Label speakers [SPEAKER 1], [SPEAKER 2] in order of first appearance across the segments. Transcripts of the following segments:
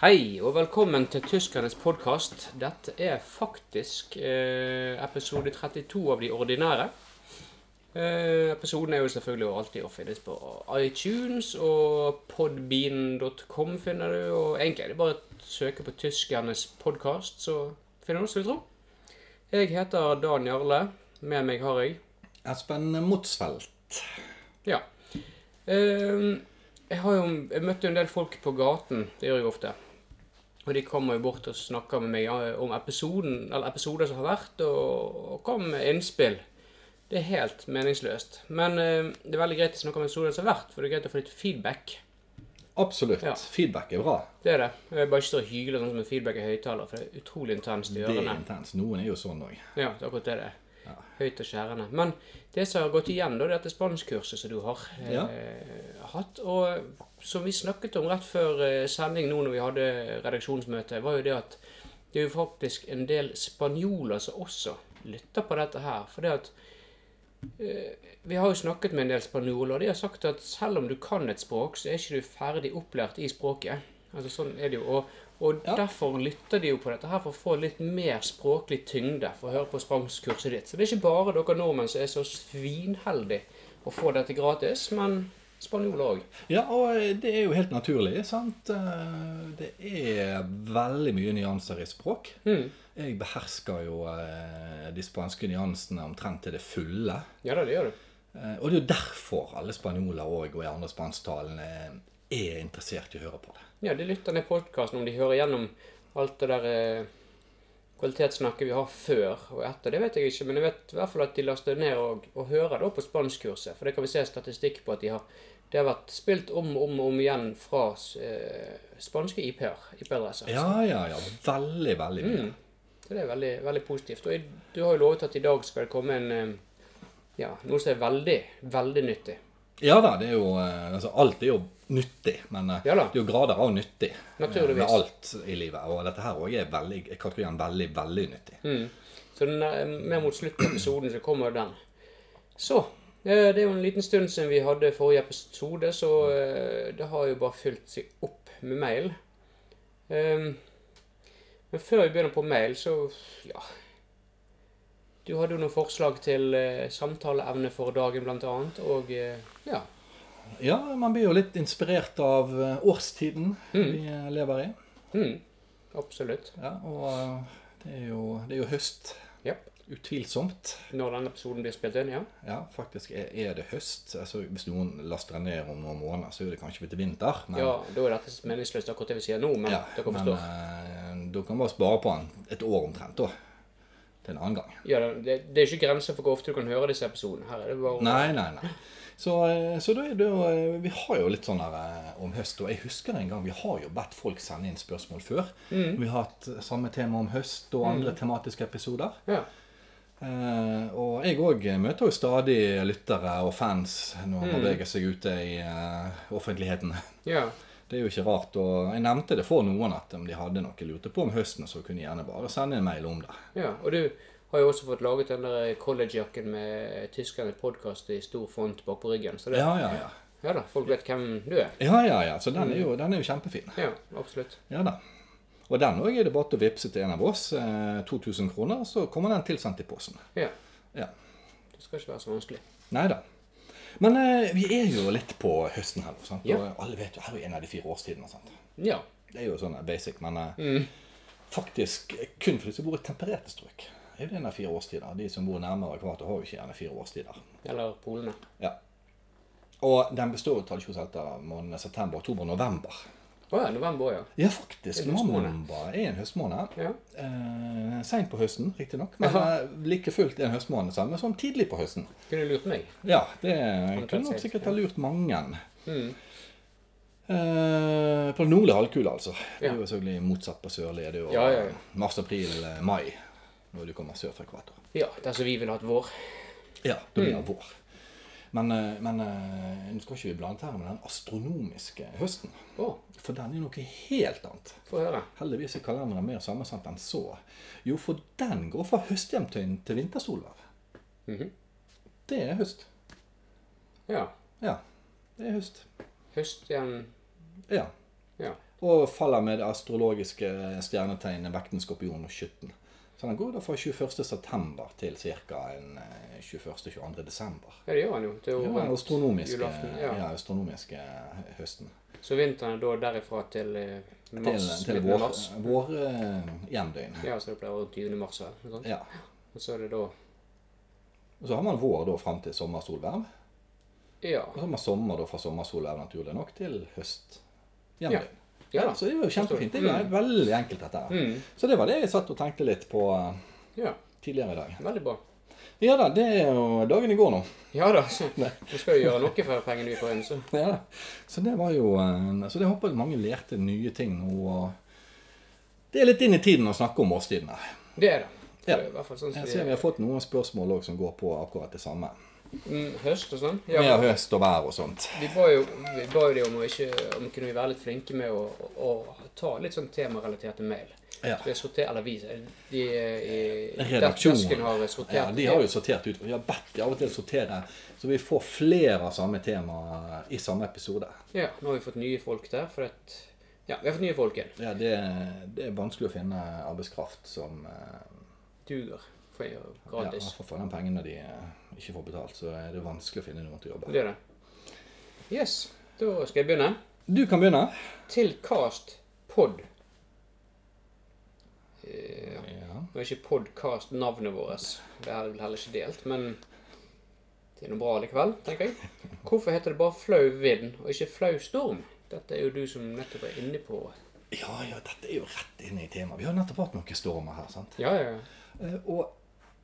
[SPEAKER 1] Hei, og velkommen til Tyskernes podkast. Dette er faktisk eh, episode 32 av De ordinære. Eh, episoden er jo selvfølgelig og alltid å finnes på iTunes og podbean.com finner du. Og egentlig er det bare å søke på Tyskernes podkast, så finner du oss, vil jeg tro. Jeg heter Dan Jarle. Med meg har jeg
[SPEAKER 2] Espen Motsfeldt.
[SPEAKER 1] Ja. Ehm, jeg har jo jeg møtte jo en del folk på gaten, det gjør jeg ofte. Og de kommer jo bort og snakker med meg ja, om episoden, eller episoder som har vært, og, og kommer med innspill. Det er helt meningsløst. Men eh, det er veldig greit å snakke om episoder som har vært, for det er greit å få litt feedback.
[SPEAKER 2] Absolutt.
[SPEAKER 1] Ja.
[SPEAKER 2] Feedback er bra.
[SPEAKER 1] Det er det. Jeg bare ikke stå og hyle sånn som en feedback i høyttaler, for det er utrolig intenst i
[SPEAKER 2] Det er
[SPEAKER 1] ørene.
[SPEAKER 2] intenst. Noen er jo sånn òg.
[SPEAKER 1] Ja, det er akkurat det det er. Høyt og skjærende. Men det som har gått igjen, da, det er dette spanskkurset som du har eh,
[SPEAKER 2] Ja.
[SPEAKER 1] hatt, og som vi snakket om rett før eh, sending nå når vi hadde redaksjonsmøte, var jo det at det er jo faktisk en del spanjoler som også lytter på dette her. For det at eh, Vi har jo snakket med en del spanjoler, og de har sagt at selv om du kan et språk, så er ikke du ferdig opplært i språket. Altså sånn er det jo. Og, og
[SPEAKER 2] Ja.
[SPEAKER 1] derfor lytter de jo på dette her for å få litt mer språklig tyngde for å høre på spanskkurset ditt. Så det er ikke bare dere nordmenn som er så svinheldige å få dette gratis, men spanjoler òg.
[SPEAKER 2] Ja, og eh, det er jo helt naturlig, sant? Eh, Det er veldig mye nyanser i språk. Jeg behersker jo eh, de spanske nyansene omtrent til det fulle.
[SPEAKER 1] Ja da, det gjør du.
[SPEAKER 2] Eh, Og det er jo derfor alle spanjoler òg, og i andre spansktalende, er interessert i å høre på det.
[SPEAKER 1] Ja, de lytter ned podkasten om de hører gjennom alt det der eh, kvalitetssnakket vi har før og etter. Det vet jeg ikke, men jeg vet i hvert fall at de laster ned og, og hører da på spanskkurset. For det kan vi se statistikk på at de har, det har vært spilt om og om, og om igjen fra eh, spanske IP-er. IP-adresser.
[SPEAKER 2] Ja, ja, ja. Veldig, veldig mye.
[SPEAKER 1] Så det er veldig, veldig positivt. Og i- du har jo lovet at i dag skal det komme en eh, ja, noe som er veldig, veldig nyttig.
[SPEAKER 2] Ja da, det er jo eh, altså, Alt er jo nyttig, men eh,
[SPEAKER 1] Ja da.
[SPEAKER 2] det er jo grader av nyttig eh,
[SPEAKER 1] Naturligvis.
[SPEAKER 2] med alt i livet. Og dette her òg er veldig jeg kategorien veldig, veldig nyttig.
[SPEAKER 1] Mm. Så den er, mer mot slutten av episoden så kommer den. Så. eh, Det er jo en liten stund siden vi hadde forrige episode, så eh, det har jo bare fylt seg opp med mail. Ehm, Men før vi begynner på mail, så ja Du hadde jo noen forslag til eh, samtaleevne for dagen, blant annet, og eh, ja.
[SPEAKER 2] Ja, man blir jo litt inspirert av eh, årstiden vi eh, lever i.
[SPEAKER 1] Mm, absolutt.
[SPEAKER 2] Ja, og eh, det er jo, det er jo høst.
[SPEAKER 1] Ja.
[SPEAKER 2] Utvilsomt.
[SPEAKER 1] Når denne episoden blir spilt inn, ja.
[SPEAKER 2] Ja, faktisk er, er det høst. Altså, hvis noen laster ned om noen måneder, så er det kanskje blitt vinter. Men,
[SPEAKER 1] Ja, Da er dette meningsløst, akkurat det vi sier nå, men
[SPEAKER 2] ja,
[SPEAKER 1] dere
[SPEAKER 2] men
[SPEAKER 1] forstår.
[SPEAKER 2] eh, du kan bare spare på den et år omtrent, da. Til en annen gang.
[SPEAKER 1] Ja, det, det er ikke grenser for hvor ofte du kan høre disse episodene. Her er det bare
[SPEAKER 2] Nei, nei, nei. Så, eh, så da er det jo eh, Vi har jo litt sånn her eh, om høst. Og jeg husker en gang vi har jo bedt folk sende inn spørsmål før.
[SPEAKER 1] Mm.
[SPEAKER 2] Vi har hatt samme tema om høst og andre tematiske episoder.
[SPEAKER 1] Ja.
[SPEAKER 2] Eh, og jeg òg møter jo stadig lyttere og fans når
[SPEAKER 1] Mm.
[SPEAKER 2] man beveger seg ute i eh, offentligheten.
[SPEAKER 1] ja.
[SPEAKER 2] Det er jo ikke rart. Og jeg nevnte det for noen at om de hadde noe de lurte på om høsten, så kunne de gjerne bare sende en mail om det.
[SPEAKER 1] Ja. Og du har jo også fått laget den der collegejakken med tyskerne podkast i stor font bak på ryggen. Så det, ja.
[SPEAKER 2] Ja, ja, ja.
[SPEAKER 1] da, folk vet hvem du er.
[SPEAKER 2] Ja, ja, ja. Så den er jo, den er jo kjempefin.
[SPEAKER 1] Ja, absolutt.
[SPEAKER 2] Ja da. Og den òg er det bare til å vippse til en av oss. Eh, 2000 kroner, så kommer den tilsendt i posten.
[SPEAKER 1] Ja.
[SPEAKER 2] Ja.
[SPEAKER 1] Det skal ikke være så vanskelig.
[SPEAKER 2] Nei da. Men eh, vi er jo litt på høsten her, nå, sant?
[SPEAKER 1] Ja.
[SPEAKER 2] og alle vet jo her er jo en av de fire årstidene. sant?
[SPEAKER 1] Ja.
[SPEAKER 2] Det er jo sånn eh, basic, men eh,
[SPEAKER 1] Mm.
[SPEAKER 2] faktisk eh, kun for de som bor i tempererte strøk. er jo det en av fire årstider. De som bor nærmere ekvator, har jo ikke gjerne fire årstider.
[SPEAKER 1] Eller polene.
[SPEAKER 2] Ja. Og den består jo tradisjonelt sett av månedene september, oktober, november.
[SPEAKER 1] Å ja, november òg, ja.
[SPEAKER 2] Ja, faktisk.
[SPEAKER 1] En høstmåned.
[SPEAKER 2] November er en høstmåned.
[SPEAKER 1] Ja.
[SPEAKER 2] Eh, Seint på høsten, riktignok, men
[SPEAKER 1] Jaha.
[SPEAKER 2] eh, like fullt en høstmåned samme som tidlig på høsten.
[SPEAKER 1] Kunne du lurt meg?
[SPEAKER 2] Ja, det kunne nok
[SPEAKER 1] sett, ja. Mm.
[SPEAKER 2] sikkert ha lurt mange. Eh, på den nordlige halvkule, altså. Det
[SPEAKER 1] Ja.
[SPEAKER 2] er jo selvfølgelig motsatt på sørlig. Det er jo
[SPEAKER 1] Ja, ja, ja.
[SPEAKER 2] mars, april, eh, mai når du kommer sør fra ekvator.
[SPEAKER 1] Ja, dersom vi ville hatt vår.
[SPEAKER 2] Ja, da
[SPEAKER 1] Mm.
[SPEAKER 2] blir det vår. Men, eh, men eh, nå skal ikke vi blande her med den astronomiske høsten.
[SPEAKER 1] Å,
[SPEAKER 2] For den er jo noe helt annet.
[SPEAKER 1] få høre.
[SPEAKER 2] Heldigvis er kalenderen mer sammensatt enn så. Jo, for den går fra høstjevntøyn til vintersolverv.
[SPEAKER 1] Mhm.
[SPEAKER 2] Det er høst.
[SPEAKER 1] Ja.
[SPEAKER 2] Ja. Det er høst.
[SPEAKER 1] Høst igjen.
[SPEAKER 2] Ja.
[SPEAKER 1] Ja.
[SPEAKER 2] Og faller med det astrologiske stjernetegnet vekten skorpion og skytten. Så den går da fra 21. september til ca. 21.-22. desember.
[SPEAKER 1] Ja, det gjør han jo. Det er
[SPEAKER 2] Det
[SPEAKER 1] jo
[SPEAKER 2] var den astronomiske,
[SPEAKER 1] julaften,
[SPEAKER 2] ja.
[SPEAKER 1] ja.
[SPEAKER 2] astronomiske høsten.
[SPEAKER 1] Så vinteren er da derifra til eh,
[SPEAKER 2] Til,
[SPEAKER 1] mars.
[SPEAKER 2] til
[SPEAKER 1] midten av
[SPEAKER 2] vår,
[SPEAKER 1] mars.
[SPEAKER 2] vår eh, jevndøgn.
[SPEAKER 1] Ja, så det pleier å være 20. mars. vel, ikke sant?
[SPEAKER 2] Ja.
[SPEAKER 1] Og så er det da
[SPEAKER 2] Og så har man vår da fram til sommersolverv.
[SPEAKER 1] Ja.
[SPEAKER 2] Og så har man sommer da fra sommersolverv naturlig nok til høst.
[SPEAKER 1] Ja.
[SPEAKER 2] Jevndøgn.
[SPEAKER 1] Ja da.
[SPEAKER 2] Så det er jo kjempefint. Det er jo veldig enkelt dette her.
[SPEAKER 1] Mm.
[SPEAKER 2] Så det var det jeg satt og tenkte litt på eh,
[SPEAKER 1] Ja,
[SPEAKER 2] tidligere i dag.
[SPEAKER 1] veldig bra.
[SPEAKER 2] Ja da, det er jo dagen i går nå.
[SPEAKER 1] Ja da. så- Vi skal jo gjøre noe for pengene vi får inn, så.
[SPEAKER 2] Ja da. Så det var jo eh, Så det håper jeg mange lærte nye ting nå. og Det er litt inn i tiden å snakke om årstidene.
[SPEAKER 1] Det er det.
[SPEAKER 2] Ja.
[SPEAKER 1] Det er I hvert fall sånn som
[SPEAKER 2] Jeg ser
[SPEAKER 1] vi
[SPEAKER 2] vi har fått noen spørsmål også som går på akkurat det samme.
[SPEAKER 1] Mm, Høst og sånn.
[SPEAKER 2] Med
[SPEAKER 1] Ja.
[SPEAKER 2] høst og vær og sånt.
[SPEAKER 1] Vi ba jo, vi ba jo de om å ikke om kunne vi være litt flinke med å, å ta litt sånn temarelaterte mail.
[SPEAKER 2] Ja.
[SPEAKER 1] Det er sorter, eller vi, de eh, i
[SPEAKER 2] Redaksjonen.
[SPEAKER 1] desken har sortert.
[SPEAKER 2] Ja, de har jo sortert ut. Vi har bedt de av og til sortere, så vi får flere av samme tema i samme episode.
[SPEAKER 1] Ja, nå har vi fått nye folk der, for at, ja, vi har fått nye folk igjen.
[SPEAKER 2] Ja, det, det er vanskelig å finne arbeidskraft som eh,
[SPEAKER 1] Duger for å gjøre
[SPEAKER 2] ja, i
[SPEAKER 1] gratis.
[SPEAKER 2] hvert fall for den pengene de eh, ikke får betalt, så er det vanskelig å finne noen til å jobbe.
[SPEAKER 1] Det er det. Yes, da skal jeg begynne.
[SPEAKER 2] Du kan begynne.
[SPEAKER 1] Til cast pod. Eh,
[SPEAKER 2] Ja.
[SPEAKER 1] Nå er ikke podcast navnet vårt. Det er vel heller ikke delt, men det er noe bra likevel, tenker jeg. Hvorfor heter det bare flau vind og ikke flau storm? Dette er jo du som nettopp er inne på.
[SPEAKER 2] Ja, ja, dette er jo rett inn i temaet. Vi har nettopp hatt noen stormer her, sant.
[SPEAKER 1] Ja, ja, ja.
[SPEAKER 2] Eh, Og,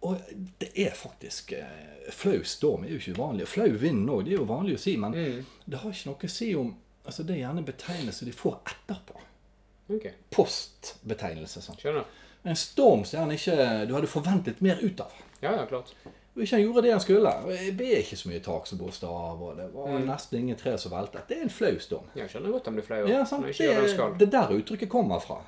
[SPEAKER 2] og det er faktisk eh, Flau storm er jo ikke uvanlig. og Flau vind òg, det er jo vanlig å si. Men det har ikke noe å si om altså Det er gjerne betegnelser de får etterpå.
[SPEAKER 1] Ok,
[SPEAKER 2] Postbetegnelse. sant?
[SPEAKER 1] skjønner.
[SPEAKER 2] En storm som gjerne ikke du hadde forventet mer ut av.
[SPEAKER 1] Ja, ja, klart.
[SPEAKER 2] Og ikke han gjorde det han skulle. og Jeg ble ikke så mye tak som blåste av, og det var
[SPEAKER 1] Mm.
[SPEAKER 2] nesten ingen tre som veltet. Det er en flau storm.
[SPEAKER 1] Ja, Jeg skjønner godt om blir flau
[SPEAKER 2] Ja,
[SPEAKER 1] når
[SPEAKER 2] sant?
[SPEAKER 1] jeg
[SPEAKER 2] Det,
[SPEAKER 1] ikke gjør det jeg skal. Mm.
[SPEAKER 2] det er der uttrykket kommer fra.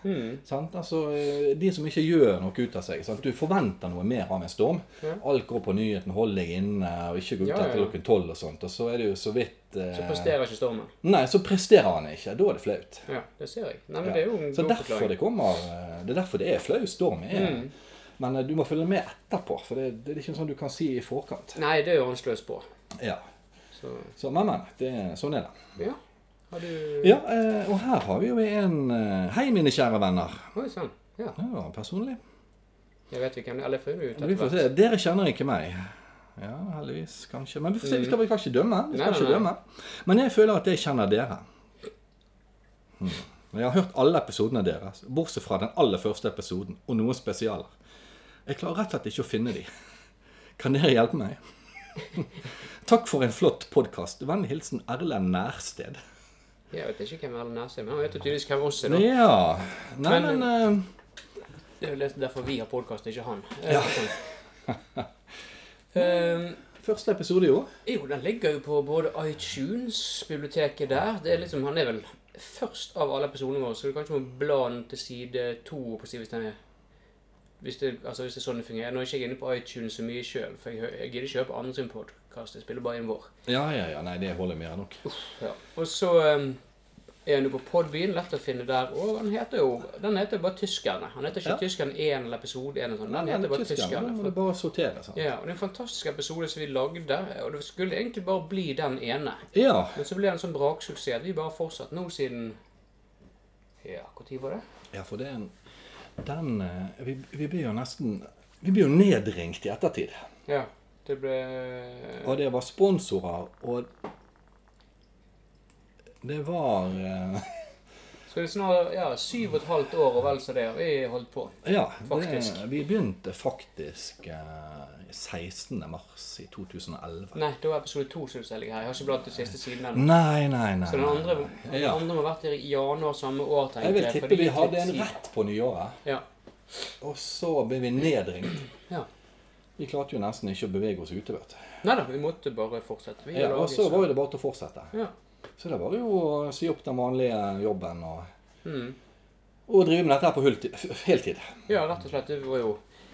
[SPEAKER 2] Sant? Altså, de som ikke gjør noe ut av seg. Sant? Du forventer noe mer av en storm. Alt går på nyheten, hold deg inne og ikke gå ut
[SPEAKER 1] Ja, ja,
[SPEAKER 2] etter
[SPEAKER 1] ja.
[SPEAKER 2] klokken tolv og sånt. Og så er det jo så vidt eh,
[SPEAKER 1] Så presterer ikke stormen.
[SPEAKER 2] Nei, så presterer han ikke. Da er det flaut.
[SPEAKER 1] Ja, det ser jeg. Nei,
[SPEAKER 2] Ja.
[SPEAKER 1] men det er jo en
[SPEAKER 2] Så
[SPEAKER 1] god
[SPEAKER 2] derfor
[SPEAKER 1] forklaring. Mm.
[SPEAKER 2] det kommer eh, Det er derfor det er flau storm. Er. Men eh, du må følge med etterpå, for det, det er ikke sånn du kan si i forkant.
[SPEAKER 1] Nei, det er jo han sløs på.
[SPEAKER 2] Ja.
[SPEAKER 1] Så,
[SPEAKER 2] Så, men, men. Det, sånn er det.
[SPEAKER 1] ja. Har du...
[SPEAKER 2] Ja, eh, og her har vi jo en eh, Hei, mine kjære venner.
[SPEAKER 1] Oi, sånn. Ja,
[SPEAKER 2] Det var personlig.
[SPEAKER 1] jeg vet ikke hvem det er. Eller får vi ut
[SPEAKER 2] Vi får
[SPEAKER 1] etter
[SPEAKER 2] se.
[SPEAKER 1] hvert.
[SPEAKER 2] Dere kjenner ikke meg. Ja, heldigvis, kanskje. Men vi får se. Vi skal vel kanskje dømme.
[SPEAKER 1] Mm.
[SPEAKER 2] Vi skal
[SPEAKER 1] Nei, nei,
[SPEAKER 2] ikke
[SPEAKER 1] nei.
[SPEAKER 2] dømme. Men jeg føler at jeg kjenner dere. Hmm. Jeg har hørt alle episodene deres, bortsett fra den aller første episoden, og noen spesialer. Jeg klarer rett og slett ikke å finne de. Kan dere hjelpe meg? Takk for en flott podkast. Vennlig hilsen Erlend Nærsted.
[SPEAKER 1] Jeg vet ikke hvem Erlend Nærsheim er, men han vet jo tydeligvis hvem oss er da.
[SPEAKER 2] Ja Nei,
[SPEAKER 1] Men-
[SPEAKER 2] men eh,
[SPEAKER 1] Det er jo litt derfor vi har podkast, ikke han. Eh, Ja.
[SPEAKER 2] eh, Første episode i år.
[SPEAKER 1] Ehm, jo, den ligger jo på både iTunes, biblioteket der Det er liksom, Han er vel først av alle episodene våre, så du kanskje må bla den til side to på siden hvis den er hvis det, altså hvis det er sånn det fungerer. Nå er ikke jeg inne på iTunes så mye sjøl, for jeg, hø- jeg gidder ikke høre på andre sin podkast. Jeg spiller bare inn vår.
[SPEAKER 2] Ja, ja, ja. Nei, det holder mer enn nok.
[SPEAKER 1] Ja. Og så um, er han jo på Podbean, lett å finne der. Og han heter jo den heter bare Tyskerne. Han heter ikke
[SPEAKER 2] Ja.
[SPEAKER 1] Tyskerne 1 eller Episode 1 eller sånn. Den
[SPEAKER 2] Nei,
[SPEAKER 1] heter
[SPEAKER 2] men
[SPEAKER 1] bare
[SPEAKER 2] tyskerne,
[SPEAKER 1] Tyskerne.
[SPEAKER 2] Da må
[SPEAKER 1] for-
[SPEAKER 2] det bare altså. sortere. Sant?
[SPEAKER 1] Ja, og det er en fantastisk episode som vi lagde, og det skulle egentlig bare bli den ene.
[SPEAKER 2] Ja.
[SPEAKER 1] Men så ble det en sånn braksuksess at vi bare fortsatte nå siden Ja, når var det?
[SPEAKER 2] Ja, for det er en Den eh, vi, vi blir jo nesten Vi blir jo nedringt i ettertid.
[SPEAKER 1] Ja, det ble
[SPEAKER 2] Og det var sponsorer, og Det var eh,
[SPEAKER 1] Så det er snart ja, syv og et halvt år og vel så det, og vi holdt på.
[SPEAKER 2] Ja,
[SPEAKER 1] Faktisk.
[SPEAKER 2] Det, vi begynte faktisk eh, 16. mars i 2011.
[SPEAKER 1] Nei, det var episode to, synes jeg. ligger her. Jeg har ikke bladd til siste siden ennå.
[SPEAKER 2] Nei, nei, nei.
[SPEAKER 1] Så den
[SPEAKER 2] nei.
[SPEAKER 1] andre, den
[SPEAKER 2] Ja.
[SPEAKER 1] andre må ha vært der i januar samme år, tenker
[SPEAKER 2] Jeg vil
[SPEAKER 1] for
[SPEAKER 2] tippe
[SPEAKER 1] det
[SPEAKER 2] vi
[SPEAKER 1] gikk
[SPEAKER 2] hadde
[SPEAKER 1] litt
[SPEAKER 2] en
[SPEAKER 1] tid.
[SPEAKER 2] rett på nyåret,
[SPEAKER 1] Ja.
[SPEAKER 2] og så ble vi nedringt.
[SPEAKER 1] ja.
[SPEAKER 2] Vi klarte jo nesten ikke å bevege oss ute, vet du.
[SPEAKER 1] Nei da, vi måtte bare fortsette. Vi
[SPEAKER 2] Ja, og så var jo det bare til å fortsette.
[SPEAKER 1] Ja.
[SPEAKER 2] Så det var jo å si opp den vanlige jobben og,
[SPEAKER 1] Mm.
[SPEAKER 2] og drive med dette her på hulti- f- heltid.
[SPEAKER 1] Ja, rett og slett. Det var jo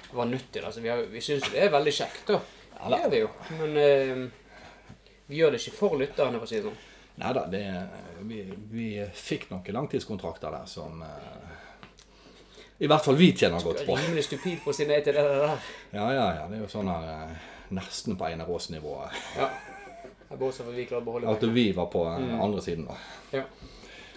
[SPEAKER 1] det var nyttig. Altså, vi, har- vi syns jo det er veldig kjekt, da.
[SPEAKER 2] Ja da.
[SPEAKER 1] ehm, Det gjør vi jo. Men eh, vi gjør det ikke for lytterne, for å si det sånn.
[SPEAKER 2] Nei da, det, vi, vi fikk noen langtidskontrakter der som eh, I hvert fall vi tjener godt på.
[SPEAKER 1] Rimelig stupid for å si nei til det der.
[SPEAKER 2] Ja, ja, ja. Det er jo sånn her eh, nesten på Einar Aas-nivå.
[SPEAKER 1] Ja. Jeg bare også for vi klarer å beholde
[SPEAKER 2] At
[SPEAKER 1] pengene.
[SPEAKER 2] vi var på eh, andre siden, da.
[SPEAKER 1] Ja.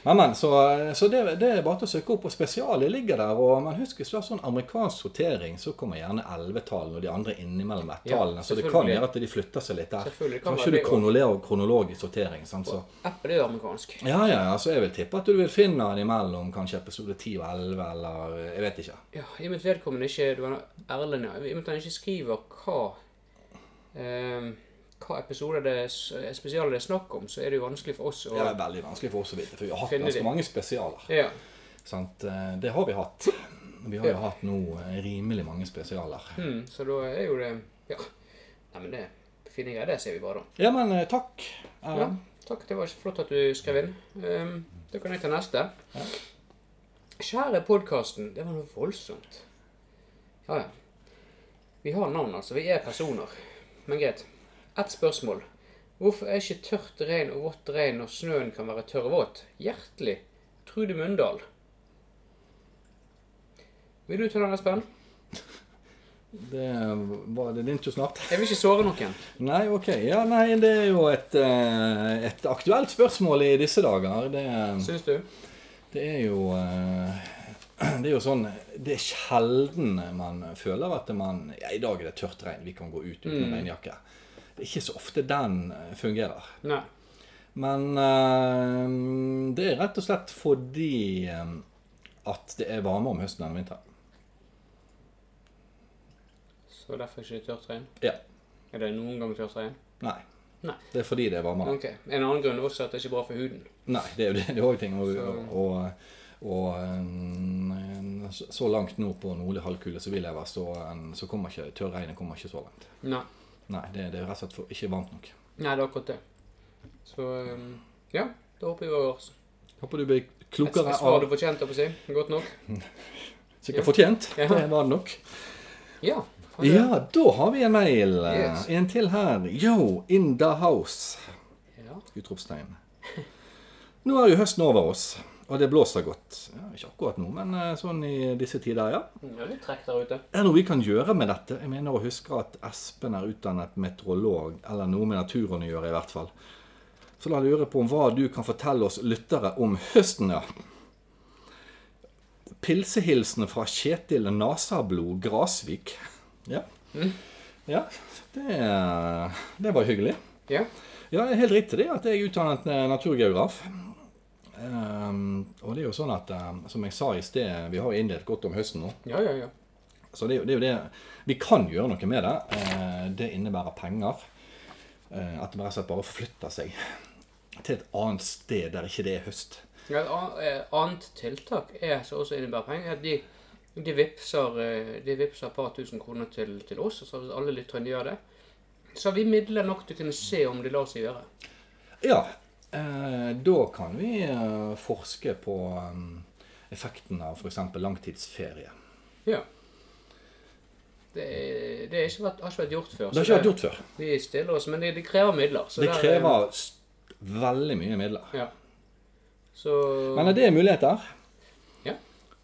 [SPEAKER 2] Men, men, så, så det, det er bare til å søke opp, og spesialet ligger der. og Men husk, hvis du har sånn amerikansk sortering, så kommer gjerne 11-tallene og de andre innimellom
[SPEAKER 1] Ja,
[SPEAKER 2] ett-tallene. så det kan
[SPEAKER 1] selvfølgelig.
[SPEAKER 2] gjøre at de flytter seg litt der.
[SPEAKER 1] Selvfølgelig kan
[SPEAKER 2] Kan
[SPEAKER 1] være
[SPEAKER 2] ikke du
[SPEAKER 1] det også.
[SPEAKER 2] kronolog, kronologisk sortering. sant, så...
[SPEAKER 1] Apple er jo amerikansk.
[SPEAKER 2] Ja, ja, ja, så jeg vil tippe at du vil finne den imellom kanskje episode 10 og 11, eller eh, jeg vet ikke.
[SPEAKER 1] Ja, I og med at vedkommende ikke det var noe Erlend, ja. I og med at han ikke skriver hva ehm, hva episode det er, spesiale det er snakk om, så er det jo vanskelig for oss å
[SPEAKER 2] Det er veldig vanskelig for oss å vite, for vi har hatt
[SPEAKER 1] Finner de.
[SPEAKER 2] ganske mange spesialer.
[SPEAKER 1] Ja.
[SPEAKER 2] Sant? Eh, Det har vi hatt. Vi har jo hatt nå eh, rimelig mange spesialer.
[SPEAKER 1] Mm, så da er jo det Ja. Nei, men det er fine greier. Det ser vi bare, da.
[SPEAKER 2] Ja, men eh, takk.
[SPEAKER 1] Ja.
[SPEAKER 2] Erlend.
[SPEAKER 1] Takk, det var flott at du skrev inn. Ehm, da kan jeg ta neste. Kjære podkasten. Det var noe voldsomt. Ja, ja. Vi har navn, altså. Vi er personer. Men greit. Ett spørsmål. Hvorfor er ikke tørt regn og vått regn når snøen kan være tørr og våt? Hjertelig Trude Mundal. Vil du ta den, Espen?
[SPEAKER 2] Det eh, var det din tur snart.
[SPEAKER 1] Jeg vil ikke såre noen.
[SPEAKER 2] Nei, ok. Ja, nei, det er jo et, eh, et aktuelt spørsmål i disse dager. Det,
[SPEAKER 1] Syns du?
[SPEAKER 2] det er jo eh, Det er jo sånn Det er sjelden man føler at man Ja, i dag er det tørt regn, vi kan gå ut uten regnjakke. Det er ikke så ofte den eh, fungerer.
[SPEAKER 1] Nei.
[SPEAKER 2] Men eh, det er rett og slett fordi eh, at det er varmere om høsten enn om vinteren.
[SPEAKER 1] Så derfor er det ikke tørt regn?
[SPEAKER 2] Ja.
[SPEAKER 1] Er det noen gang tørt regn?
[SPEAKER 2] Nei.
[SPEAKER 1] Nei.
[SPEAKER 2] Det er fordi det er varmere.
[SPEAKER 1] Ok. En annen grunn er også at det ikke er bra for huden.
[SPEAKER 2] Nei, det er jo det. Det er òg ting. Og,
[SPEAKER 1] Så-
[SPEAKER 2] og, og eh, så så langt nord på nordlig halvkule som vi lever, så, eh, så kommer ikke tørrregnet kommer ikke så langt.
[SPEAKER 1] Nei.
[SPEAKER 2] Nei, det, det er rett og slett for, ikke varmt nok.
[SPEAKER 1] Nei, det er akkurat det. Så um, ja, da håper vi vi har
[SPEAKER 2] Håper du blir klokere
[SPEAKER 1] et svar
[SPEAKER 2] av
[SPEAKER 1] du fortjente, holdt jeg på å si. Godt nok.
[SPEAKER 2] Sikkert fortjent.
[SPEAKER 1] Ja.
[SPEAKER 2] Det var nok.
[SPEAKER 1] Ja. ha det.
[SPEAKER 2] Ja, da har vi en mail.
[SPEAKER 1] Yes.
[SPEAKER 2] En til her. Yo, in the house.
[SPEAKER 1] ja.
[SPEAKER 2] Utropstegn. Nå er jo høsten over oss, og det blåser godt. Ja, ikke akkurat nå, men eh, sånn i disse tider, ja.
[SPEAKER 1] Det er litt trekk der ute.
[SPEAKER 2] er det noe vi kan gjøre med dette? Jeg mener å huske at Espen er utdannet meteorolog, eller noe med naturen å gjøre i hvert fall. Så la lure på om hva du kan fortelle oss lyttere om høsten, ja. Pilsehilsen fra Kjetil Nasablod Grasvik. Ja. Ja, det, det var hyggelig.
[SPEAKER 1] Ja.
[SPEAKER 2] Ja, helt riktig det at jeg er utdannet eh, naturgeograf. Ehm, og det er jo sånn at, eh, som jeg sa i sted, vi har jo innledet godt om høsten nå.
[SPEAKER 1] Ja, ja, ja.
[SPEAKER 2] Så det er, jo, det er jo det Vi kan gjøre noe med det. Eh, Det innebærer penger. Eh, At det rett og slett bare forflytter seg til et annet sted der ikke det er høst.
[SPEAKER 1] ja et an- eh, annet tiltak er, som også innebærer penger, er at de, de vipser eh, de vipser et par tusen kroner til, til oss. og Så hvis alle lytterne gjør det, så har vi midler nok til å kunne se om det lar seg gjøre.
[SPEAKER 2] Ja, eh, da kan vi eh, forske på eh, effekten av f.eks. langtidsferie.
[SPEAKER 1] Ja. Det, er- det er ikke vært, har ikke vært gjort før.
[SPEAKER 2] Det har
[SPEAKER 1] så
[SPEAKER 2] ikke vært gjort før.
[SPEAKER 1] Vi stiller oss, men det, det krever midler. Altså, Så
[SPEAKER 2] Det
[SPEAKER 1] der, eh,
[SPEAKER 2] krever s- veldig mye midler.
[SPEAKER 1] Ja. Så
[SPEAKER 2] Men er det muligheter?
[SPEAKER 1] Ja.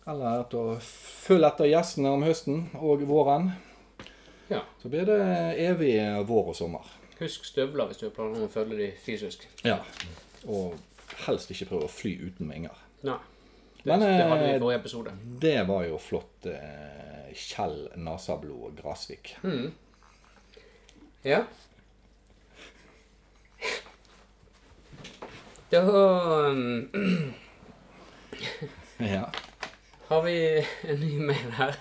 [SPEAKER 2] Eller at å følge etter gjestene om høsten og våren. eh,
[SPEAKER 1] ja.
[SPEAKER 2] Så blir det evig vår og sommer.
[SPEAKER 1] Husk støvler hvis du har planer om å følge de fysisk.
[SPEAKER 2] Ja. Og helst ikke prøve å fly uten vinger.
[SPEAKER 1] Nei. Det,
[SPEAKER 2] Men,
[SPEAKER 1] det hadde vi
[SPEAKER 2] eh,
[SPEAKER 1] i forrige episode.
[SPEAKER 2] Det var jo flott eh, Kjell Nasablod og Grasvik.
[SPEAKER 1] Hm. Ja. Da um,
[SPEAKER 2] Ja,
[SPEAKER 1] har vi en ny mail her.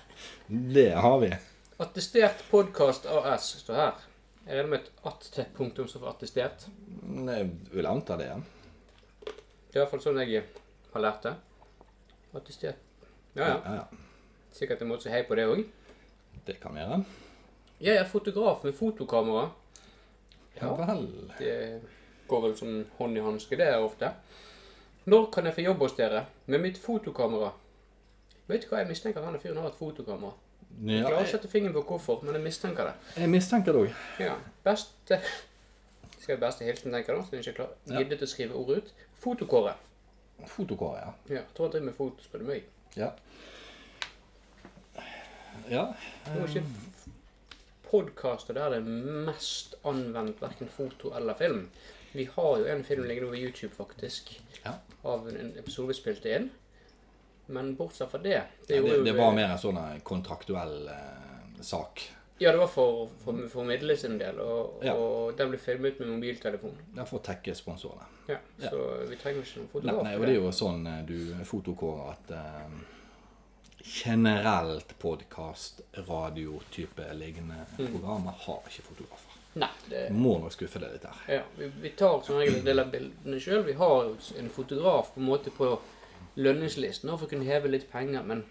[SPEAKER 2] det har vi.
[SPEAKER 1] Attestert podkast AS står her. Jeg regner med et at til punktum som for attestert.
[SPEAKER 2] Jeg vil anta Eh, det. ja.
[SPEAKER 1] Det er i hvert fall sånn jeg har lært det. Attestert. Ja, ja.
[SPEAKER 2] Ja, ja.
[SPEAKER 1] Sikkert en måte å si hei på det òg.
[SPEAKER 2] Det kan være.
[SPEAKER 1] Jeg er fotograf med fotokamera.
[SPEAKER 2] Ja vel.
[SPEAKER 1] Det går vel som hånd i hanske, det er ofte. Når kan jeg få jobb hos dere med mitt fotokamera? Vet du hva, jeg mistenker at han fyren har et fotokamera. Jeg
[SPEAKER 2] Ja,
[SPEAKER 1] klarer ikke å
[SPEAKER 2] jeg,
[SPEAKER 1] sette fingeren på hvorfor, men jeg mistenker det.
[SPEAKER 2] jeg mistenker det òg.
[SPEAKER 1] Ja. Beste Skal beste hilsen tenker da, som jeg ikke klar- giddet å skrive ordet ut. Fotokåret.
[SPEAKER 2] Fotokåret, ja.
[SPEAKER 1] Ja, tror han driver med foto, spør du meg.
[SPEAKER 2] Ja. ja.
[SPEAKER 1] Det var ikke podkaster der det er mest anvendt hverken foto eller film. Vi har jo en film liggende over YouTube, faktisk,
[SPEAKER 2] Ja.
[SPEAKER 1] av en- en episode vi spilte inn. Men bortsett fra det Det,
[SPEAKER 2] Det,
[SPEAKER 1] gjorde
[SPEAKER 2] det
[SPEAKER 1] jo-
[SPEAKER 2] var mer en sånn eh, kontraktuell eh, sak.
[SPEAKER 1] Ja, det var for, for, for Midle sin del, og,
[SPEAKER 2] Ja.
[SPEAKER 1] og den ble filmet med mobiltelefon.
[SPEAKER 2] Derfor tekke sponsorene.
[SPEAKER 1] Ja, så vi trenger ikke noen
[SPEAKER 2] Nei,
[SPEAKER 1] fotograf.
[SPEAKER 2] nei,
[SPEAKER 1] til
[SPEAKER 2] og det er jo sånn eh, du fotokårer at eh, generelt podkast, radiotype lignende programmer har ikke fotografer.
[SPEAKER 1] Nei, det,
[SPEAKER 2] Må nok skuffe deg litt der.
[SPEAKER 1] ja, vi, vi tar som regel en del av bildene sjøl. Vi har jo en fotograf på en måte på lønningslisten nå for å kunne heve litt penger, men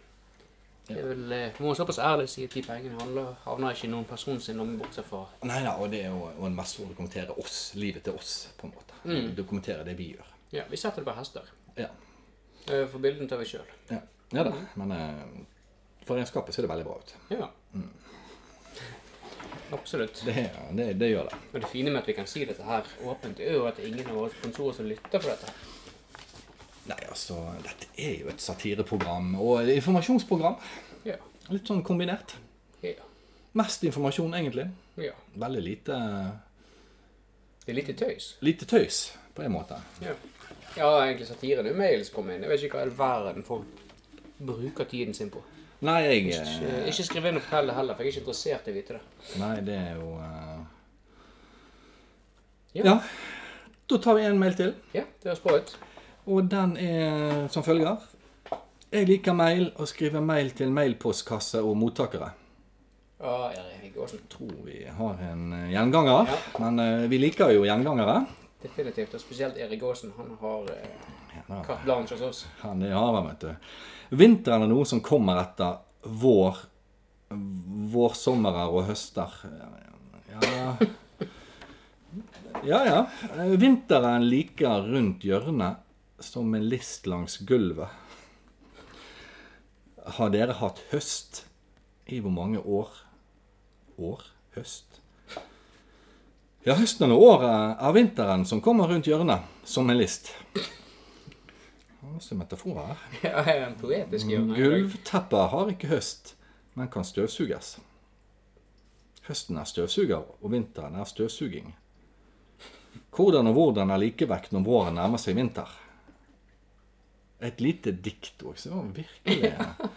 [SPEAKER 1] jeg vil, eh, må såpass ærlig si at de pengene handler, havner ikke i noen person sin lomme, bortsett fra
[SPEAKER 2] Nei da, og det er jo og en mest å dokumentere oss, livet til oss, på en måte. Dokumentere det vi gjør.
[SPEAKER 1] Ja, vi setter det på hester.
[SPEAKER 2] Ja.
[SPEAKER 1] Eh, For bildene tar vi sjøl.
[SPEAKER 2] Ja, ja da, men eh, for regnskapet ser det veldig bra ut.
[SPEAKER 1] Ja. Mm. Absolutt.
[SPEAKER 2] Det, det, det gjør det.
[SPEAKER 1] Og det fine med at vi kan si dette her åpent, er jo at det er ingen av våre sponsorer som lytter på dette.
[SPEAKER 2] Nei, altså, dette er jo et satireprogram og et informasjonsprogram.
[SPEAKER 1] Ja.
[SPEAKER 2] Litt sånn kombinert.
[SPEAKER 1] ja.
[SPEAKER 2] Mest informasjon, egentlig.
[SPEAKER 1] ja.
[SPEAKER 2] Veldig lite,
[SPEAKER 1] Det er litt tøys.
[SPEAKER 2] lite tøys, på en måte.
[SPEAKER 1] Ja. ja, egentlig satire. Det er jo mail som kommer inn. Jeg vet ikke hva i all verden folk bruker tiden sin på.
[SPEAKER 2] Nei, jeg eh,
[SPEAKER 1] Eh, Ikke skriv inn og fortell det heller, for jeg er ikke interessert i å vite det.
[SPEAKER 2] Nei, det er jo eh,
[SPEAKER 1] Ja.
[SPEAKER 2] Ja. Da tar vi en mail til,
[SPEAKER 1] Ja, det høres bra ut.
[SPEAKER 2] og den er eh, som følger. Jeg liker mail og skriver mail til mailpostkasse og mottakere.
[SPEAKER 1] Ja, Erik Aasen.
[SPEAKER 2] tror vi har en eh, gjenganger.
[SPEAKER 1] Ja.
[SPEAKER 2] Men eh, vi liker jo gjengangere.
[SPEAKER 1] Definitivt. Og spesielt Erik Aasen. Han har eh,
[SPEAKER 2] Ja,
[SPEAKER 1] carte blanche hos oss.
[SPEAKER 2] Han er hava, vet du. Vinteren er noe som kommer etter vår Vårsommerer og høster. Ja Ja, ja. Eh, Vinteren liker rundt hjørnet som en list langs gulvet. Har dere hatt høst i hvor mange år? År? Høst? Ja, høsten og året er vinteren som kommer rundt hjørnet som en list. Det var Masse metaforer her.
[SPEAKER 1] Ja, jeg er en poetisk hjørne.
[SPEAKER 2] Gulvteppet har ikke høst, men kan støvsuges. Høsten er støvsuger, og vinteren er støvsuging. Hvordan og hvordan er likevekt når våren nærmer seg vinter? Et lite dikt òg, så det var virkelig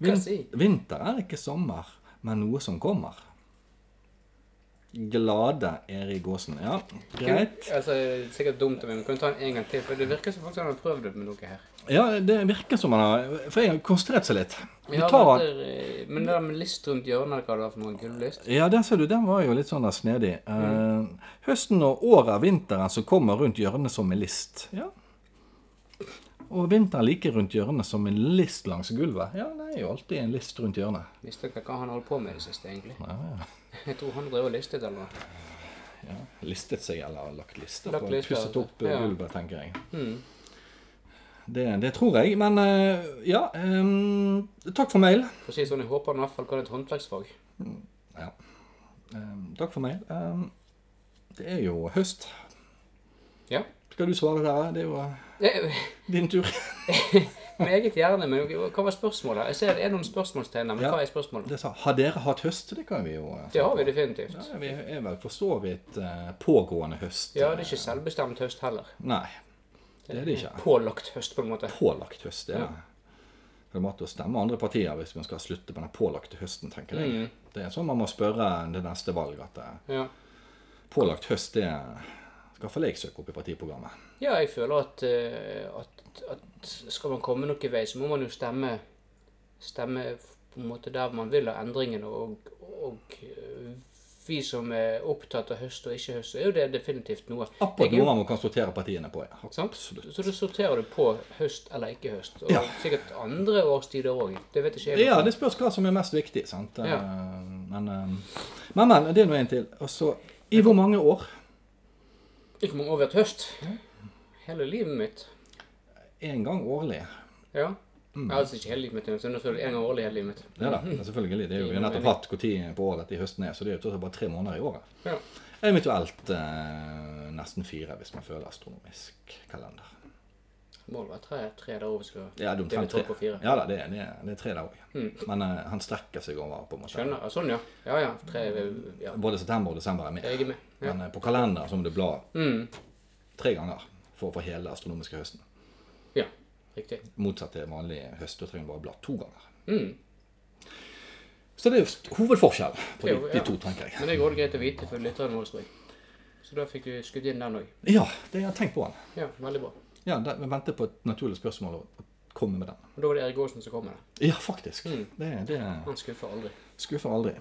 [SPEAKER 1] Hva si?
[SPEAKER 2] Vinter er ikke sommer, men noe som kommer. Glade Erik Aasen. Ja, greit.
[SPEAKER 1] Altså, det er sikkert dumt av meg, men kan du ta den en gang til? For det virker som folk har prøvd det med noe her.
[SPEAKER 2] Ja, det virker som han har For jeg har konsentrert seg litt. Vi
[SPEAKER 1] Ja,
[SPEAKER 2] tar
[SPEAKER 1] men det er- men det der med list rundt hjørnet, eller hva det var for noe gullist?
[SPEAKER 2] Ja, den ser du, den var jo litt sånn der snedig. Eh,
[SPEAKER 1] Mm.
[SPEAKER 2] høsten og året er vinteren som kommer rundt hjørnet som en list. Ja. Og vinteren like rundt hjørnet som en list langs gulvet. Ja, det er jo alltid en list rundt hjørnet.
[SPEAKER 1] Visste dere hva han holdt på med i det siste, egentlig?
[SPEAKER 2] Ja, ja.
[SPEAKER 1] Jeg tror han drev og listet eller noe.
[SPEAKER 2] ja. Listet seg eller lagt lister
[SPEAKER 1] Lagt
[SPEAKER 2] på.
[SPEAKER 1] lister,
[SPEAKER 2] pusset opp eh,
[SPEAKER 1] ja. Mm.
[SPEAKER 2] gulvet, tenker jeg. Det, det tror jeg. Men eh, ja ehm, Takk for mail.
[SPEAKER 1] For å si det sånn, jeg håper han i hvert fall kan et håndverksfag.
[SPEAKER 2] Ja. Ehm, takk for mail. Ehm, det er jo høst.
[SPEAKER 1] Ja.
[SPEAKER 2] Skal du svare, Terje? Det er jo eh,
[SPEAKER 1] Eh,
[SPEAKER 2] din tur.
[SPEAKER 1] Meget gjerne, men hva var spørsmålet? Jeg ser det er noen spørsmålstegn, her, men
[SPEAKER 2] Ja.
[SPEAKER 1] hva er spørsmålet?
[SPEAKER 2] Det sa, har dere hatt høst? Det kan vi jo eh,
[SPEAKER 1] Det har vi
[SPEAKER 2] svare på.
[SPEAKER 1] definitivt.
[SPEAKER 2] Ja, vi er vel for så vidt eh, pågående høst.
[SPEAKER 1] Ja, det er ikke selvbestemt høst heller.
[SPEAKER 2] Nei, det er det ikke.
[SPEAKER 1] Pålagt høst, på en måte.
[SPEAKER 2] Pålagt høst, det er det. Det måtte jo stemme andre partier hvis man skal slutte med den pålagte høsten, tenker jeg.
[SPEAKER 1] Mm.
[SPEAKER 2] Det er sånn man må spørre det neste valg at eh,
[SPEAKER 1] Ja.
[SPEAKER 2] pålagt høst, det skal iallfall jeg søke opp i partiprogrammet.
[SPEAKER 1] Ja, jeg føler at, eh, at, at skal man komme noen vei, så må man jo stemme, stemme på en måte der man vil ha endringene. Og, og eh, vi som er opptatt av høst og ikke høst, så er jo det definitivt noe.
[SPEAKER 2] Akkurat
[SPEAKER 1] Jeg er-
[SPEAKER 2] noe man kan sortere partiene på, ja.
[SPEAKER 1] Sant?
[SPEAKER 2] Absolutt.
[SPEAKER 1] Så da sorterer du på høst eller ikke høst. Og
[SPEAKER 2] Ja.
[SPEAKER 1] sikkert andre årstider òg. Det vet ikke jeg.
[SPEAKER 2] Ja, det spørs hva som er mest viktig, sant.
[SPEAKER 1] Ja.
[SPEAKER 2] Eh, Men, eh, men, men, det er nå en til. Og så, i hvor mange år?
[SPEAKER 1] Ikke mange år vi har hatt høst. Hele livet mitt.
[SPEAKER 2] En gang årlig.
[SPEAKER 1] Ja.
[SPEAKER 2] Mm.
[SPEAKER 1] Jeg har altså ikke hele livet mitt, men jeg føler en gang årlig hele livet mitt.
[SPEAKER 2] Ja da, selvfølgelig. Det er jo, vi har nettopp hatt når på året dette i høsten er, så det er jo tross alt bare tre måneder i året.
[SPEAKER 1] Ja.
[SPEAKER 2] Eventuelt eh, nesten fire, hvis man føler astronomisk kalender.
[SPEAKER 1] Målet var tre, tre der over skal
[SPEAKER 2] Ja, det er omtrent tre.
[SPEAKER 1] på fire. Mm.
[SPEAKER 2] Ja da, det er, det er, det er tre der òg. Men eh, han strekker seg over, på en måte.
[SPEAKER 1] Skjønner. Ja, sånn, ja. Ja, ja. Tre, eh, ja.
[SPEAKER 2] Både september og desember er med.
[SPEAKER 1] Jeg er med. Ja.
[SPEAKER 2] Men eh, på kalenderen så må du bla
[SPEAKER 1] Mm.
[SPEAKER 2] tre ganger for å få hele astronomiske høsten.
[SPEAKER 1] ja. Riktig.
[SPEAKER 2] Motsatt til vanlig høst, da trenger du bare bla to ganger.
[SPEAKER 1] Mm.
[SPEAKER 2] Så det er jo st- hovedforskjell på de,
[SPEAKER 1] Det er jo-
[SPEAKER 2] de
[SPEAKER 1] ja.
[SPEAKER 2] to, tenker jeg.
[SPEAKER 1] Men det er jo greit å vite for lytterne våre, tror jeg. Så da fikk du skutt inn den òg.
[SPEAKER 2] Ja, det jeg tenkt på den.
[SPEAKER 1] Ja, veldig bra.
[SPEAKER 2] Ja, der, Vi venter på et naturlig spørsmål og og komme med den. Mm.
[SPEAKER 1] Og da var det Erik Aasen som kom med det.
[SPEAKER 2] Ja, faktisk. Det, det
[SPEAKER 1] Han skuffer aldri.
[SPEAKER 2] skuffer aldri.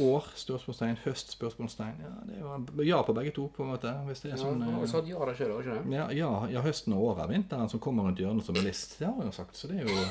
[SPEAKER 2] År, spørsmålstegn, høst, spørsmålstegn. Ja, det er jo ja på begge to, på en måte. Hvis det er
[SPEAKER 1] Ja,
[SPEAKER 2] sånn
[SPEAKER 1] han
[SPEAKER 2] eh,
[SPEAKER 1] har jo sagt ja der sjøl, har han ikke det?
[SPEAKER 2] Ja, ja, ja, høsten og året. Vinteren som kommer rundt hjørnet som en list. Det har hun sagt, så det er jo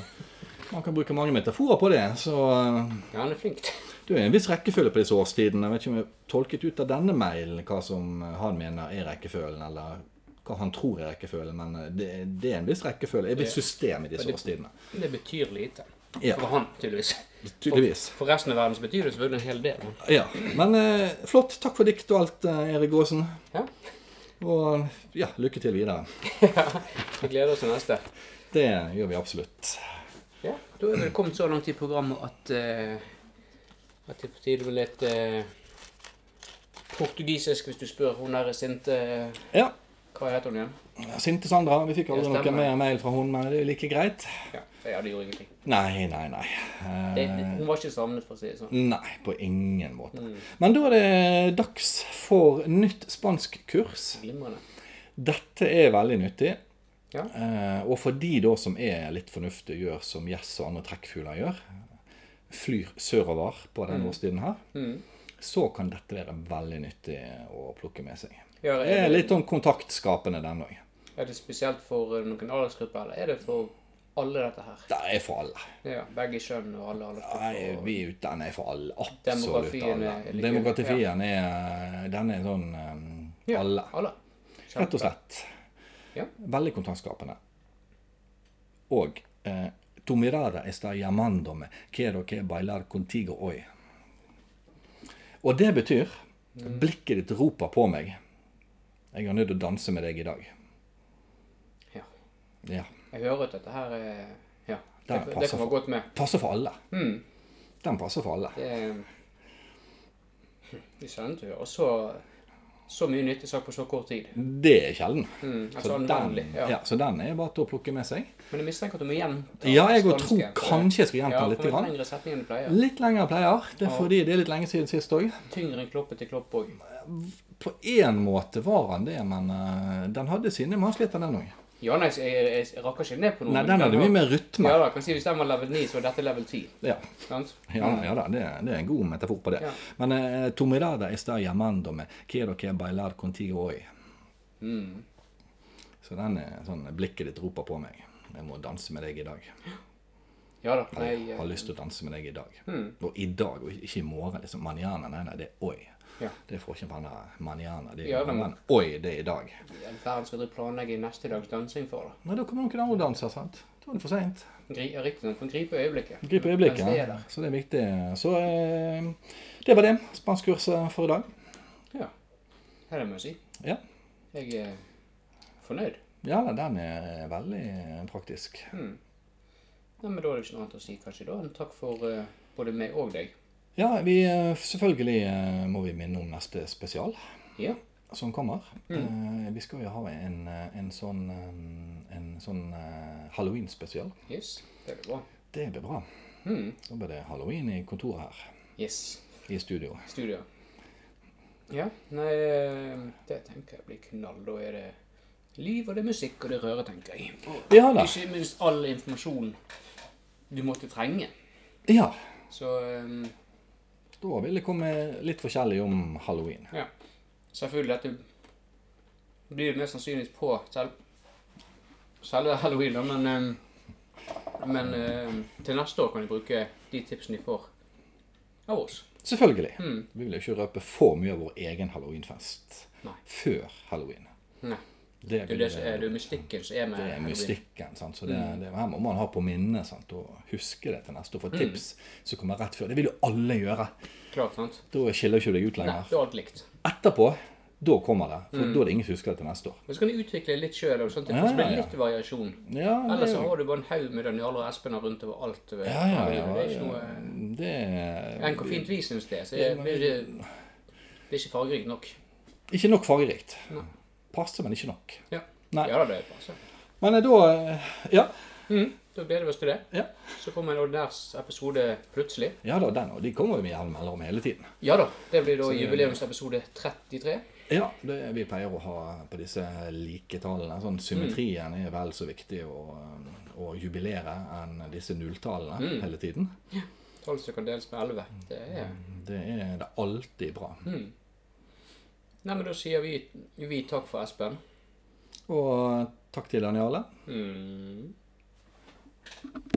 [SPEAKER 2] Man kan bruke mange metaforer på det. Så eh,
[SPEAKER 1] Ja, han er flink.
[SPEAKER 2] det er en viss rekkefølge på disse årstidene. Jeg vet ikke om jeg har tolket ut av denne mailen hva som eh, han mener er rekkefølgen, eller hva han tror er rekkefølgen, men eh, det, det er en viss rekkefølge. Et visst system i disse årstidene.
[SPEAKER 1] Det betyr lite.
[SPEAKER 2] Ja.
[SPEAKER 1] For han, tydeligvis.
[SPEAKER 2] Tydeligvis.
[SPEAKER 1] For resten av verden så betyr det selvfølgelig en hel del. men-
[SPEAKER 2] Ja. Men eh, flott. Takk for dikt og alt, eh, Erik Aasen.
[SPEAKER 1] Ja.
[SPEAKER 2] Og ja, lykke til videre.
[SPEAKER 1] Vi gleder oss til neste.
[SPEAKER 2] Det gjør vi absolutt.
[SPEAKER 1] Ja, Da er vi kommet så langt i programmet at eh, at det er på tide med litt eh, portugisisk, hvis du spør hun der sinte eh,
[SPEAKER 2] Ja.
[SPEAKER 1] Hva heter hun igjen?
[SPEAKER 2] Sinte Sandra. Vi fikk aldri
[SPEAKER 1] Ja,
[SPEAKER 2] noe
[SPEAKER 1] stemmer.
[SPEAKER 2] mer mail fra hun, men det er jo like greit.
[SPEAKER 1] Ja, ja det gjorde ingenting.
[SPEAKER 2] Nei, nei, nei.
[SPEAKER 1] Det,
[SPEAKER 2] Eh,
[SPEAKER 1] hun var ikke savnet, for å si det sånn.
[SPEAKER 2] nei, på ingen måte.
[SPEAKER 1] Mm.
[SPEAKER 2] Men da er det dags for nytt spanskkurs.
[SPEAKER 1] Glimrende.
[SPEAKER 2] Dette er veldig nyttig.
[SPEAKER 1] Ja.
[SPEAKER 2] Eh, og for de da som er litt fornuftige, gjør som gjess og andre trekkfugler gjør, flyr sørover på
[SPEAKER 1] Mm.
[SPEAKER 2] denne årstiden her, så kan dette være veldig nyttig å plukke med seg.
[SPEAKER 1] Ja,
[SPEAKER 2] Det er
[SPEAKER 1] er, det,
[SPEAKER 2] litt sånn kontaktskapende, den òg.
[SPEAKER 1] er det spesielt for eh, noen aldersgruppe, eller er det for alle dette her?
[SPEAKER 2] Den er for alle.
[SPEAKER 1] Ja, Begge kjønn og alle aldersgrupper?
[SPEAKER 2] Nei,
[SPEAKER 1] og-
[SPEAKER 2] vi er ute, den er for alle. Absolutt
[SPEAKER 1] Demografien
[SPEAKER 2] alle.
[SPEAKER 1] er like-
[SPEAKER 2] Demografien er Den er sånn eh,
[SPEAKER 1] Ja,
[SPEAKER 2] alle.
[SPEAKER 1] alle.
[SPEAKER 2] Rett og slett.
[SPEAKER 1] Ja.
[SPEAKER 2] Veldig kontaktskapende. Og eh, Tu mirada está llamándome. Quiero que bailar contigo hoy. Og det betyr
[SPEAKER 1] Mm.
[SPEAKER 2] Blikket ditt roper på meg. Jeg er nødt til å danse med deg i dag.
[SPEAKER 1] Ja.
[SPEAKER 2] Ja.
[SPEAKER 1] Jeg hører at dette her er Ja.
[SPEAKER 2] Den
[SPEAKER 1] Det, det
[SPEAKER 2] passer
[SPEAKER 1] kommer
[SPEAKER 2] for-
[SPEAKER 1] godt med.
[SPEAKER 2] Passer for alle.
[SPEAKER 1] Mm.
[SPEAKER 2] Den passer for alle.
[SPEAKER 1] Det er hm, Vi kjente jo også så mye nyttig sak på så kort tid.
[SPEAKER 2] Det er sjelden.
[SPEAKER 1] Mm, altså
[SPEAKER 2] Så
[SPEAKER 1] anvendelig.
[SPEAKER 2] den,
[SPEAKER 1] Ja.
[SPEAKER 2] ja, så den er bare til å plukke med seg.
[SPEAKER 1] Men jeg mistenker at du må gjenta
[SPEAKER 2] Ja, jeg går
[SPEAKER 1] spansken,
[SPEAKER 2] tror
[SPEAKER 1] for-
[SPEAKER 2] kanskje jeg skal
[SPEAKER 1] ja,
[SPEAKER 2] gjenta
[SPEAKER 1] for
[SPEAKER 2] litt.
[SPEAKER 1] det er
[SPEAKER 2] Grann.
[SPEAKER 1] lengre setning enn du pleier.
[SPEAKER 2] Litt lenger pleier. Det er fordi det er litt lenge siden sist òg.
[SPEAKER 1] Tyngre enn kloppe til klopp òg.
[SPEAKER 2] På én måte var han det, men eh, den hadde sine vanskeligheter, den òg.
[SPEAKER 1] Ja, nei, så jeg, jeg, jeg rakker ikke ned på noe.
[SPEAKER 2] Nei,
[SPEAKER 1] men
[SPEAKER 2] den hadde
[SPEAKER 1] var-
[SPEAKER 2] mye mer rytme.
[SPEAKER 1] Ja da, kan si Hvis den var level 9, så var dette level 10.
[SPEAKER 2] Ja,
[SPEAKER 1] Sant?
[SPEAKER 2] ja, ja da, det, det er en god metafor på det.
[SPEAKER 1] Mm. Ja.
[SPEAKER 2] Men uh, Tomidada está llamandome, quiero que bailar contigo hoy.
[SPEAKER 1] Mm.
[SPEAKER 2] Så den er sånn blikket ditt roper på meg. Jeg må danse med deg i dag.
[SPEAKER 1] Ja da. Nei,
[SPEAKER 2] Jeg har
[SPEAKER 1] eh,
[SPEAKER 2] lyst til å danse med deg i dag.
[SPEAKER 1] Mm.
[SPEAKER 2] Og i dag, og ikke i morgen. liksom. Manana, nei, nei, det er oi.
[SPEAKER 1] Ja.
[SPEAKER 2] Det får ikke manana. manana det er
[SPEAKER 1] Ja,
[SPEAKER 2] ja,
[SPEAKER 1] men-
[SPEAKER 2] men oi, det er i dag.
[SPEAKER 1] verden skal dere planlegge neste dags dansing for. da.
[SPEAKER 2] Nei, da kommer noen andre og danser, sant? Da er det for seint.
[SPEAKER 1] Gri, ja, riktig, man kan gripe øyeblikket. Mens
[SPEAKER 2] Gripe øyeblikket.
[SPEAKER 1] det er der.
[SPEAKER 2] Så det er viktig. Så eh, det var det. Spanskkurset for i dag.
[SPEAKER 1] Ja. Ja, Det må jeg si.
[SPEAKER 2] Ja.
[SPEAKER 1] Jeg er fornøyd.
[SPEAKER 2] Ja, nei, den er veldig praktisk.
[SPEAKER 1] Mm. Nei, men Da er det ikke noe annet å si kanskje da enn takk for eh, både meg og deg.
[SPEAKER 2] Ja, vi eh, Selvfølgelig eh, må vi minne om neste spesial
[SPEAKER 1] Ja.
[SPEAKER 2] som kommer.
[SPEAKER 1] Mm.
[SPEAKER 2] Eh, vi skal jo ha en, eh, en sånn, eh, en sånn eh, halloween-spesial.
[SPEAKER 1] Yes. Det blir bra.
[SPEAKER 2] Det blir bra.
[SPEAKER 1] Mm.
[SPEAKER 2] Da blir det halloween i kontoret her.
[SPEAKER 1] Yes.
[SPEAKER 2] I studio.
[SPEAKER 1] Studio. Ja. Nei, eh, det tenker jeg blir knall. Da er det liv, og det er musikk, og det er røre, tenker jeg. Og
[SPEAKER 2] Ja da.
[SPEAKER 1] ikke minst all informasjon du måtte trenge.
[SPEAKER 2] Ja.
[SPEAKER 1] Så eh,
[SPEAKER 2] Da vil det komme litt forskjellig om halloween.
[SPEAKER 1] ja. Selvfølgelig at du blir mest sannsynligvis på selv, selve halloween, da, men eh, men eh, til neste år kan du bruke de tipsene du får av oss.
[SPEAKER 2] Selvfølgelig.
[SPEAKER 1] Mm.
[SPEAKER 2] Vi vil jo ikke røpe for mye av vår egen halloweenfest
[SPEAKER 1] Nei.
[SPEAKER 2] før halloween.
[SPEAKER 1] Nei.
[SPEAKER 2] Det
[SPEAKER 1] Det er,
[SPEAKER 2] vil
[SPEAKER 1] det,
[SPEAKER 2] jeg-
[SPEAKER 1] som er- det er mystikken som er med
[SPEAKER 2] det er
[SPEAKER 1] Halloween. Hmm.
[SPEAKER 2] mystikken. Sant? Så det, det her må man ha på minnet sant? og huske det til neste år. For tips som kommer rett før, det vil jo alle gjøre.
[SPEAKER 1] Klart, sant?
[SPEAKER 2] Da skiller ikke du deg ut
[SPEAKER 1] Nei, Hmm.
[SPEAKER 2] lenger.
[SPEAKER 1] det er alt likt.
[SPEAKER 2] Etterpå, da kommer det. For da er det ingen som husker det til neste år.
[SPEAKER 1] Men så kan du utvikle litt sjøl, sånn at det
[SPEAKER 2] Ja,
[SPEAKER 1] faktisk blir
[SPEAKER 2] ja, ja.
[SPEAKER 1] litt variasjon.
[SPEAKER 2] Ja, det,
[SPEAKER 1] Ellers så
[SPEAKER 2] er jo-
[SPEAKER 1] har du bare en haug med Danialer og Espener rundt over alt. over
[SPEAKER 2] ja, ja, ja,
[SPEAKER 1] Halloween. Det er ikke
[SPEAKER 2] ja.
[SPEAKER 1] noe
[SPEAKER 2] Det er
[SPEAKER 1] Enn hvor fint vi syns det er. Så det blir, det er ikke fargerikt nok.
[SPEAKER 2] ikke nok fargerikt.
[SPEAKER 1] Nei.
[SPEAKER 2] Passe, men ikke nok.
[SPEAKER 1] Ja,
[SPEAKER 2] Nei.
[SPEAKER 1] ja da, det er bra. så.
[SPEAKER 2] Men eh, da eh, Ja.
[SPEAKER 1] Mhm, Da gleder vi oss til det.
[SPEAKER 2] Ja,
[SPEAKER 1] Så kommer en ordinær episode plutselig.
[SPEAKER 2] ja da, den, og de kommer jo med jevn mellomrom hele tiden.
[SPEAKER 1] Ja da, det blir da jubileumsepisode 33.
[SPEAKER 2] Ja, det vi pleier å ha på disse like tallene. Sånn symmetrien er vel så viktig å, um, å jubilere enn disse nulltallene hele tiden.
[SPEAKER 1] Tall som kan deles med 11. Det er
[SPEAKER 2] Det er det er alltid bra.
[SPEAKER 1] Nei, men da sier vi, vi takk for Espen. Mm.
[SPEAKER 2] Og takk til Daniale.
[SPEAKER 1] Mhm.